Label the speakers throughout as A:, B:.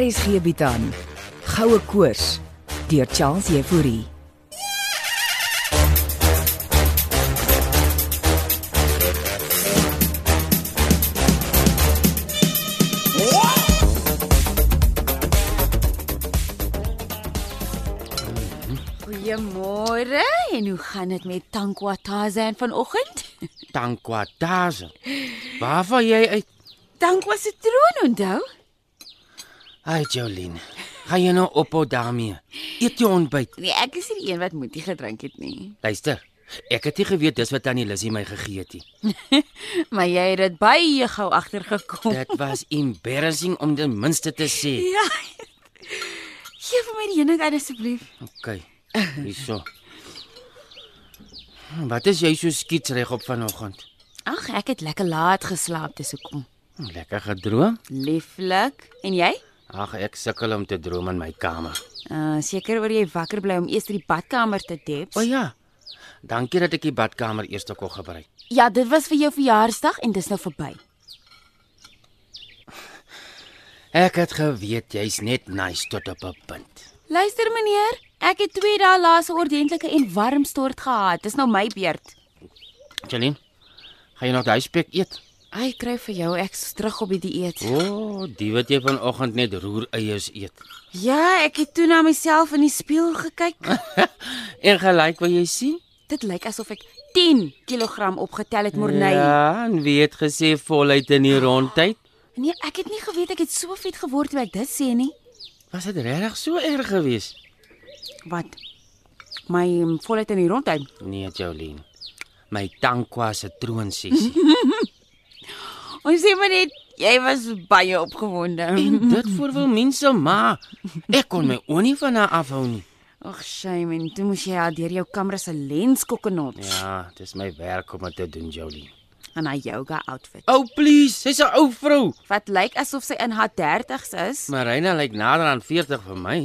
A: RSG bied aan Goue Koors deur Charles Euphorie.
B: Goeiemôre. En hoe gaan dit met Tankwa Tarzan vanoggend?
C: Tankwataza. Waar val jy uit?
B: Tankwa se troon onthou?
C: Ai Jolene, gaan jy nou ophou daarmee? Eet jou ontbyt.
B: Nee, ek is nie die een wat moetie gedrink het nie.
C: Luister, ek het nie geweet dis wat tannie Lissy my gegee het nie.
B: Maar jy het dit baie gou agtergekom.
C: Dit was embarrassing om ten minste te sê.
B: Ja. Gee vir my die eenheid uit asseblief.
C: OK. Hierso. Wat is jy so skietsreg op vanoggend?
B: Ag, ek het lekker laat geslaap, dis hoekom.
C: Hm, Lekker gedroom?
B: Lieflik. En jy?
C: Ag, ek sukkel om te droom in my kamer.
B: Uh, seker oor jy wakker bly om eers die badkamer te deps.
C: O ja. Dankie dat ek die badkamer eers kon gebruik.
B: Ja, dit was vir jou verjaarsdag en dis nou verby.
C: Ek het geweet jy's net nice tot op 'n punt.
B: Luister meneer, ek het 2 dae laas 'n ordentlike en warm stort gehad. Dis nou my beurt.
C: Jolene, gaan jy nog daai spek eet?
B: Ai, kry vir jou ek's terug op die dieet.
C: O, oh, die wat jy vanoggend net roereiers eet.
B: Ja, ek het toe na myself in die spieël gekyk.
C: En gelyk wat jy sien?
B: Dit lyk asof ek 10 kg opgetel het Morney.
C: Ja, en wie het gesê voluit in die rondtyd?
B: Nee, ek het nie geweet ek het so vet geword toe ek dit sê nie.
C: Was dit regtig so erg geweest?
B: Wat? My um, volheid in die rondheid.
C: Nee, Jolene. My tankwa se troonsiesie.
B: Ons sê maar net jy was baie opgewonde.
C: en dit voor wil mense maar ek kon my oë nie van haar afhou nie.
B: Ag, shame en toe moes jy haar deur jou kamera se lens kokkenot
C: Ja, dis my werk om dit te doen, Jolene.
B: in haar yoga outfit.
C: Oh please, sy's 'n ou vrou.
B: Wat lyk asof sy in haar 30's is.
C: Marina lyk nader aan 40 vir my.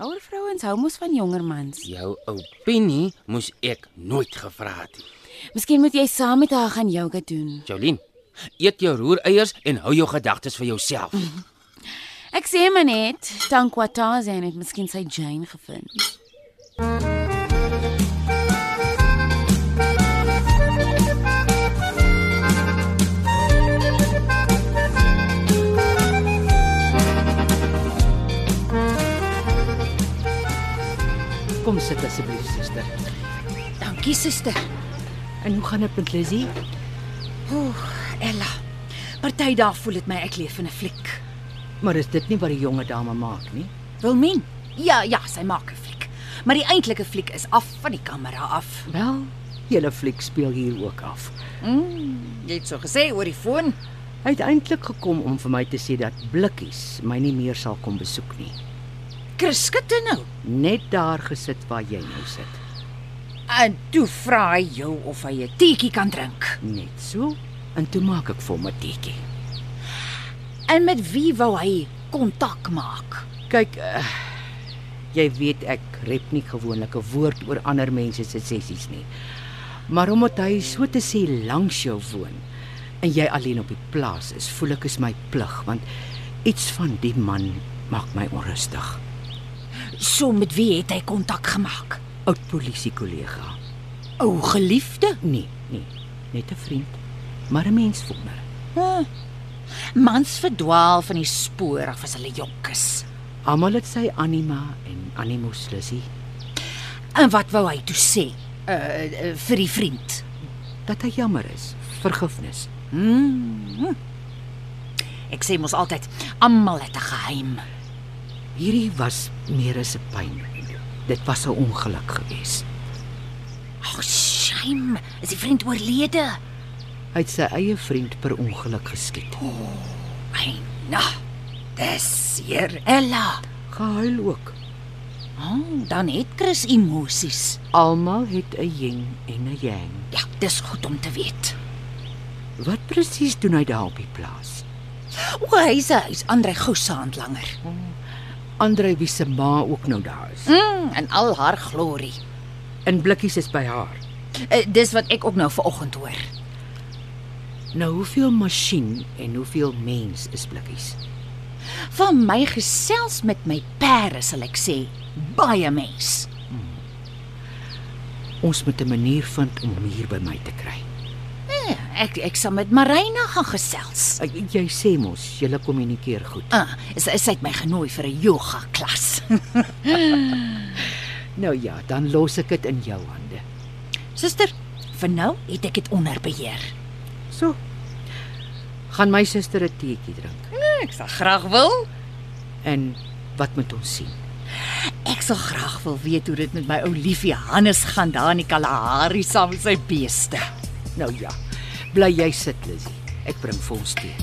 B: Ouer vrouens hou mos van jonger mans.
C: Jou opinie moes ek nooit gevra het nie.
B: Miskien moet jy saam met haar gaan yoga doen.
C: Jolien, eet jou roereiers en hou jou gedagtes vir jouself.
B: Ek sê maar net, Tankwataza het miskien sy Jane gevind.
D: Kom sit asseblief, suster.
E: Dankie suster.
D: En hoe gaan dit met Lizzy?
E: Oeh, Ella. Party dae voel dit my ek leef in 'n fliek.
D: Maar is dit nie wat die jonge dame maak nie?
E: Wilmien. Ja, ja, sy maak 'n fliek. Maar die eintlike fliek is af van die kamera af.
D: Wel, julle fliek speel hier ook af.
E: Jy het so gesê oor die foon.
D: Hy het eintlik gekom om vir my te sê dat blikkies my nie meer sal kom besoek nie.
E: Kriskette nou.
D: Net daar gesit waar jy nou sit.
E: En toe vra hy jou of hy 'n teetjie kan drink.
D: Net so. En toe maak ek vir hom 'n teetjie.
E: En met wie wou hy kontak maak?
D: Kyk, uh, jy weet ek rep nie gewoonlik 'n woord oor ander mense se sessies nie. Maar omdat hy so te sê langs jou woon en jy alleen op die plaas is, voel ek is my plig want iets van die man maak my onrustig.
E: So met wie het hy kontak gemaak?
D: Oud polisie kollega.
E: O, geliefde.
D: Nee, nee, net 'n vriend, maar 'n mens wonder.
E: Mans verdwaal van die spoor af as hulle jonk is.
D: Almal het sy anima en animus lissie
E: En wat wou hy toe sê? Uh, uh vir die vriend.
D: dat hy jammer is, vergifnis.
E: Mm. Ek sê mos altyd, almal het 'n geheim.
D: Hierdie was meer as 'n pyn. Dit was 'n ongeluk geweest.
E: Ag, shame. Is die vriend oorlede?
D: Hy het sy eie vriend per ongeluk geskiet.
E: Ai, na. Dis seer, Ella.
D: Gehuil ook.
E: Oh, dan het Chris emosies.
D: Almal het 'n yin en 'n yang.
E: Ja, dis goed om te weet.
D: Wat presies doen hy daar op die plaas?
E: O, hy's hy's Andre Gousaand langer.
D: Andrei wie se ma ook nou daar is.
E: Mm, in al haar glorie.
D: En blikkies is by haar.
E: Uh, dis wat ek ook nou vanoggend hoor.
D: Nou hoeveel masjien en hoeveel mens is blikkies?
E: Van my gesels met my pere sal ek sê, baie mens.
D: Ons moet 'n manier vind om hom hier by my te kry.
E: Nee, ek ek sal met Marina gaan gesels.
D: Ek- Jy sê mos, julle kommunikeer goed.
E: Ah, sy sy het my genooi vir 'n yoga klas.
D: Nou ja, dan los ek dit in jou hande.
E: Suster, vir nou het ek dit onder beheer.
D: So. Gaan my suster 'n teetjie drink.
E: Ek sal graag wil.
D: En wat moet ons sien?
E: Ek sal graag wil weet hoe dit met my ou liefie Hannes gaan daar in die Kalahari saam met sy beeste.
D: Nou ja. Bly jy sit, Lizzie. Ek bring vir ons tee.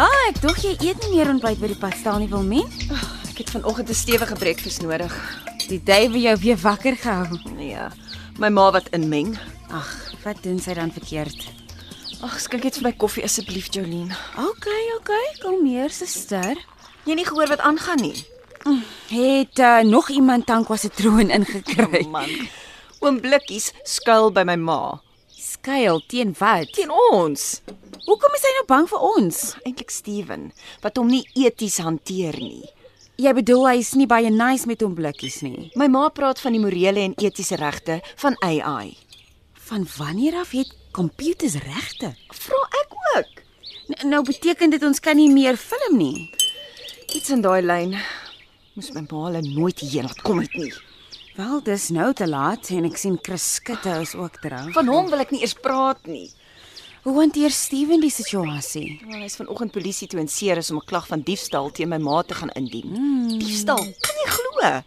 B: Ah, ek dog jy eet nie meer ontbyt by die pastaal nie, Wilmen.
F: Ek het vanoggend 'n stewige breakfast nodig.
B: Die duiwe jou weer wakker gehou.
F: Nee, my ma wat inmeng.
B: Ag, wat doen sy dan verkeerd?
F: Ag, skink net vir my koffie asseblief, Jolene.
B: OK, OK, kalmeer suster.
F: Jy het nie gehoor wat aangaan nie.
B: Het uh, nog iemand Tankwa se troon
E: Nee.
B: ingekry?
F: Oh, Man. Oom Blikkies skuil by my ma
B: Skuil teen wat?
F: teen ons.
B: Hoekom is hy nou bang vir ons?
F: Eintlik Steven wat hom nie eties hanteer nie.
B: Jy bedoel hy is nie baie nice met hom blikkies nie.
F: My ma praat van die morele en etiese regte van AI.
B: Van wanneer af het komputers regte?
F: Vra ek ook.
B: N nou beteken dit ons kan nie meer film nie.
F: Iets in daai lyn. Moes my ma hulle nooit hierheen laat kom het nie.
B: Wel, dis nou te laat en ek sien Chris Skutte is ook drank.
F: Van hom wil ek nie eers praat nie.
B: Hoe hanteer Steven die situasie?
F: Wel, hy's vanoggend polisie toe in Ceres om 'n klag van diefstal teen my ma te gaan indien. Mm. Diefstal? Kan jy glo?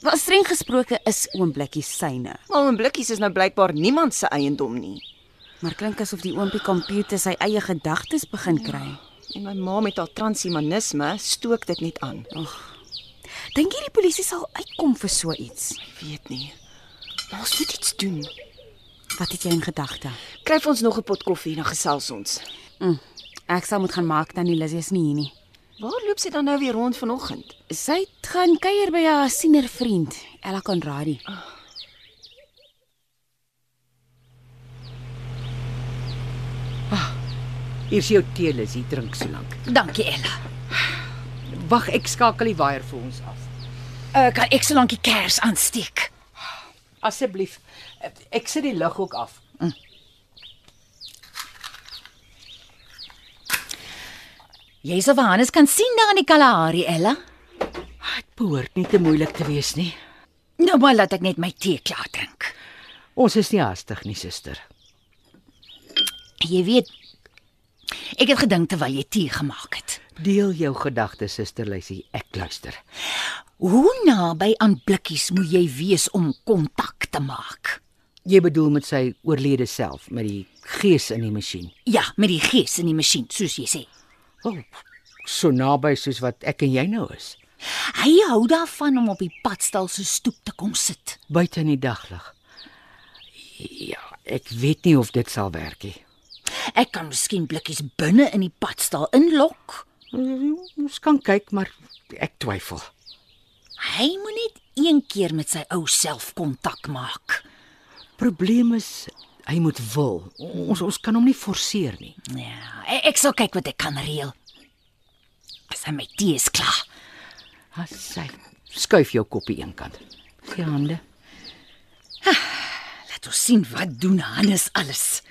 B: Wel, streng gesproke is oom Blikkie syne,
F: Maar my blikkies is nou blykbaar niemand se eiendom nie.
B: maar klink asof die oompie komputer sy eie gedagtes begin kry.
F: En my ma met haar transhumanisme stook dit net aan. Ek
B: Dink jy die polisie sal uitkom vir so iets?
F: weet nie. Maar ons moet iets doen.
B: Wat het jy in gedagte?
F: Kry vir ons nog 'n pot koffie en dan gesels ons.
B: Mm, ek sal moet gaan maak dan die Lizzie is nie hier nie.
F: Waar loop sy dan nou weer rond vanoggend?
B: Sy het gaan kuier by haar siener vriend, Ella Conradi.
D: Hier's jou tee, Lizzie, drink so lank.
E: Dankie Ella.
D: Wag, ek skakel die waier vir ons af.
E: Uh, kan ek so lank die kers aansteek?
D: Asseblief. Ek sit die lig ook af.
E: Jy sal vir Hannes kan sien daar in die Kalahari, Ella.
D: Ah, Dit behoort nie te moeilik te wees nie.
E: Nou maar laat ek net my tee klaar drink.
D: Ons is nie haastig nie, suster.
E: Jy weet, ek het gedink terwyl jy tee gemaak het.
D: Deel jou gedagtes, suster Lizzie. Ek luister.
E: Hoe naby aan blikkies moet jy wees om kontak te maak?
D: Jy bedoel met sy oorlede self, met die gees in die masjien.
E: Ja, met die gees in die masjien, soos jy sê.
D: O, oh, so naby soos wat ek en jy nou is,
E: Hy hou daarvan om op die padstal se stoep te kom sit.
D: buite in die daglig. Ja, ek weet nie of dit sal werk nie.
E: Ek kan miskien blikkies binne in die padstal inlok.
D: Ons kan kyk, maar ek twyfel.
E: Hy moet net een keer met sy ou self kontak maak.
D: Probleem is hy moet wil. Ons ons kan hom nie forceer nie.
E: Ja, e- ek sal kyk wat ek kan reël. As hy my tee is klaar.
D: Asai. Skuif jou koppie eenkant. Sy hande.
E: Laat ons sien wat doen Hannes alles.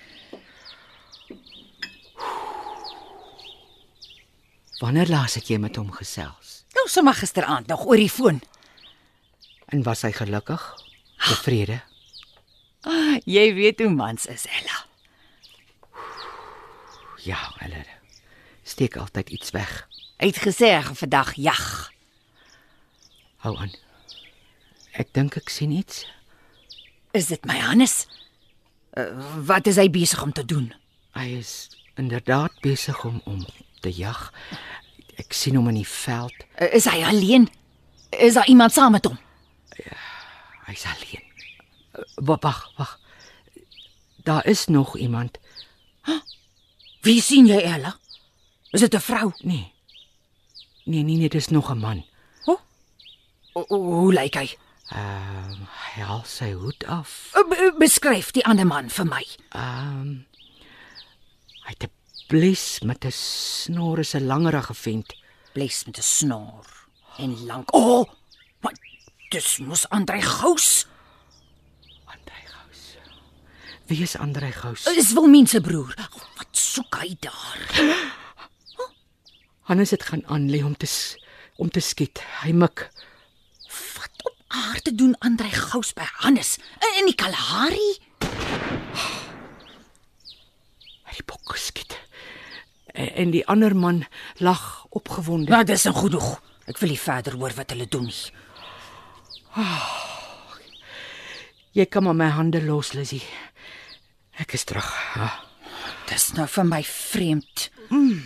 D: Wanneer laas het jy met hom gesels?
E: Nou sommer gisteraand nog oor die foon.
D: En was hy gelukkig? Tevrede?
E: Jy weet hoe mans is, Ella.
D: Ja, hulle steek altyd iets weg.
E: Hy het gesê hy gaan vandag jag.
D: Hou aan. Ek dink ek sien iets.
E: Is dit my Hannes? Uh, wat is hy besig om te doen?
D: Hy is inderdaad besig om om te jag. Ek sien hom in die veld.
E: Uh, is hy alleen? Is daar iemand saam met hom?
D: Hy's alleen.
G: Eh,
D: Wa- Wag, wag. Daar is nog iemand.
E: Wie sien jy, Ella? Is dit 'n vrou?
D: Nee. Nee, nee, nee, dis nog 'n man.
E: Ho?
H: O, o, hoe lyk hy?
G: Ehm um, hy haal sy hoed af.
E: Eh,
H: O, be- Beskryf die ander man vir my.
G: Ehm um, hy het 'n bles met 'n snor is 'n langerige vent.
H: Bles met 'n snor en lank. O, oh, wat dis mos Andrei Gous.
G: Andrei Gous. Wie is Andrei Gous?
E: Eh.
H: Is wil mense broer. O, Wat soek hy daar?
G: Hannes het gaan aanlê om te s- om te skiet. Hy mik.
H: Wat op aarde doen Andrei Gous by Hannes in, in die Kalahari?
G: Hy het die bok geskiet. En, en die ander man lag opgewonde.
H: Nou dis nou genoeg. Ek wil nie verder hoor wat hulle doen nie.
G: Jy kan maar my hande los, Lizzie. Ek is terug. Ja.
H: Dis nou vir my vreemd. Mm.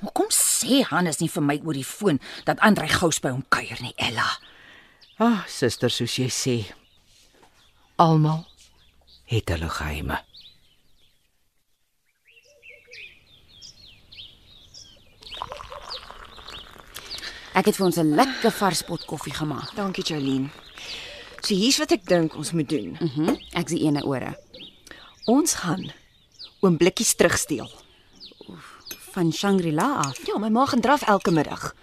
H: Hoekom sê Hannes nie vir my oor die foon dat Andrei Gous by hom kuier nie, Ella?
G: Ah, oh, suster, soos jy sê. Almal het hulle geheime.
B: Ek het vir ons 'n lekker vars pot koffie gemaak.
E: Dankie Jolene. So hier's wat ek dink ons moet doen.
B: Mhm. Mm ek sien ene ore
E: Ons gaan oom blikkies terugsteel.
B: van Shangri-La af.
E: Ja, my ma gaan draf elke middag.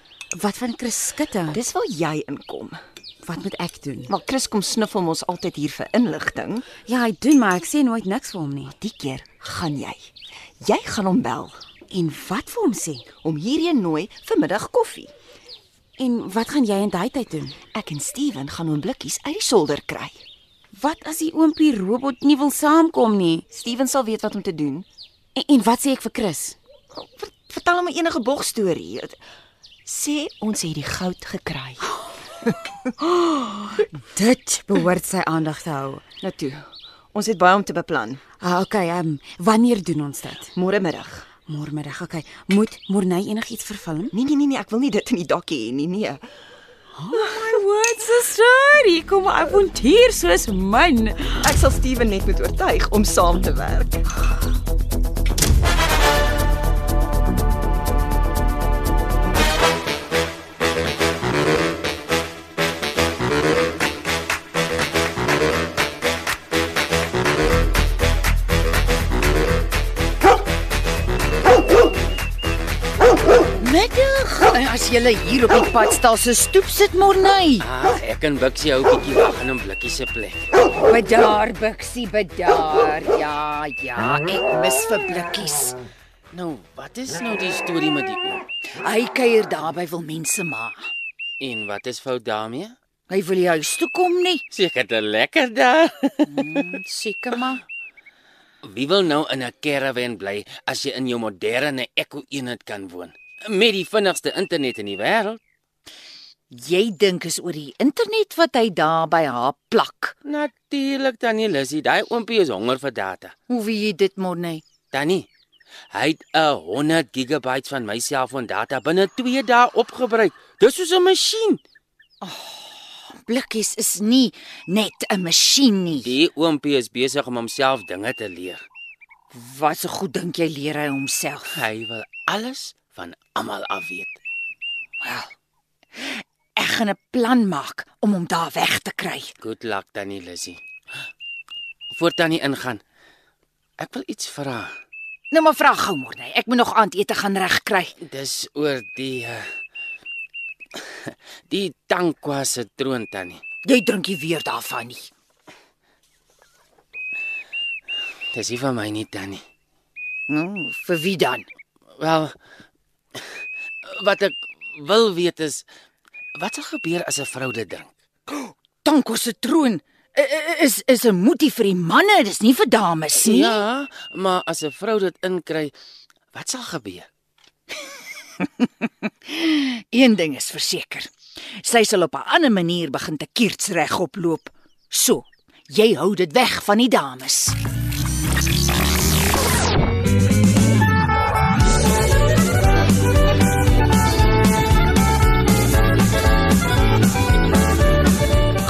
B: Wat van Chris Skutte?
E: Dis waar jy inkom.
B: Wat moet ek doen?
E: Maar Chris kom sniffel ons altyd hier vir inligting.
B: Ja, hy doen, maar ek sê nooit niks vir hom nie.
E: Die keer gaan jy. Jy gaan hom bel
B: En wat vir hom sê?
E: om hierheen nooi vir middag koffie.
B: En wat gaan jy in daai tyd doen?
E: Ek en Steven gaan hom blikkies uit die solder kry.
B: Wat as die oompie robot nie wil saamkom nie?
E: Steven sal weet wat om te doen.
B: En, en wat sê ek vir Chris?
E: Ver- Vertel hom enige bog storie. Sê ons het die goud gekry.
B: Dit behoort sy aandag te hou.
E: Nou toe. Ons het baie om te beplan.
B: Ah, okay, ehm, um, wanneer doen ons dit?
E: Môre middag.
B: Môre middag. Okay. Moet Morney enigiets vervilm?
E: Nee nee nee nee, ek wil nie dit in die dokkie hê nie. Nee.
B: My word, sister, hier kom 'n avontuur soos myn.
E: Ek sal Steven net moet oortuig om saam te werk.
D: En as jy hier op die pad staan se stoep sit Morney.
C: Ah, ek en Bixie hou bietjie wag in 'n blikkie se plek.
D: Bedaar Bixie, bedaar. Ja, ja, ek mis vir blikkies.
C: Nou, wat is nou die storie met die oom?
D: Hy kuier daar by wil mense maar.
C: En wat is fout daarmee?
D: Hy wil die huis toe kom nie.
C: Seker te lekker daar.
D: Seker maar.
C: Wie wil nou in 'n caravan bly as jy in jou moderne eko-eenheid kan woon? Met die vinnigste internet in die wêreld.
D: Jy dink is oor die internet wat hy daar by haar plak.
C: Natuurlik, Tannie Lissy, daai oompie is honger vir data.
D: Hoe weet jy dit Morney?
C: Tannie, hy het 'n 100 gigabytes van my selfoon data binne 2 dae opgebruik. Dis soos 'n masjien.
D: Blikkies is nie net 'n masjien nie.
C: Die oompie is besig om homself dinge te leer.
D: Wat so goed dink jy leer hy homself?
C: Hy wil alles van almal af weet.
D: Ek gaan 'n plan maak om hom daar weg te kry.
C: Good luck Tannie Lissy. Voor Tannie ingaan. Ek wil iets vra.
D: Nou maar vra gou Morney, ek moet nog aandete gaan regkry.
C: Dis oor die uh, die Tankwa se troon Tannie.
D: Jy drink nie weer daarvan nie.
C: Dis nie vir my nie Tannie.
D: Nou, vir wie dan?
C: Wel wat ek wil weet is wat sal gebeur as 'n vrou dit drink?
D: Tanko se troon i- i- is is 'n moetie vir die manne, dis nie vir dames nie.
C: Ja, maar as 'n vrou dit inkry, wat sal gebeur?
D: Een ding is verseker. Sy sal op 'n ander manier begin te kierts regop loop. So, jy hou dit weg van die dames.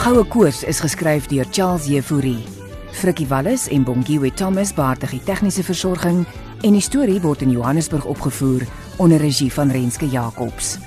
I: Goue Koors is geskryf deur Charles Jefouri. Frikkie Wallis en Bongiwe Thomas baartig die tegniese versorging en die storie word in Johannesburg opgevoer onder regie van Renske Jacobs.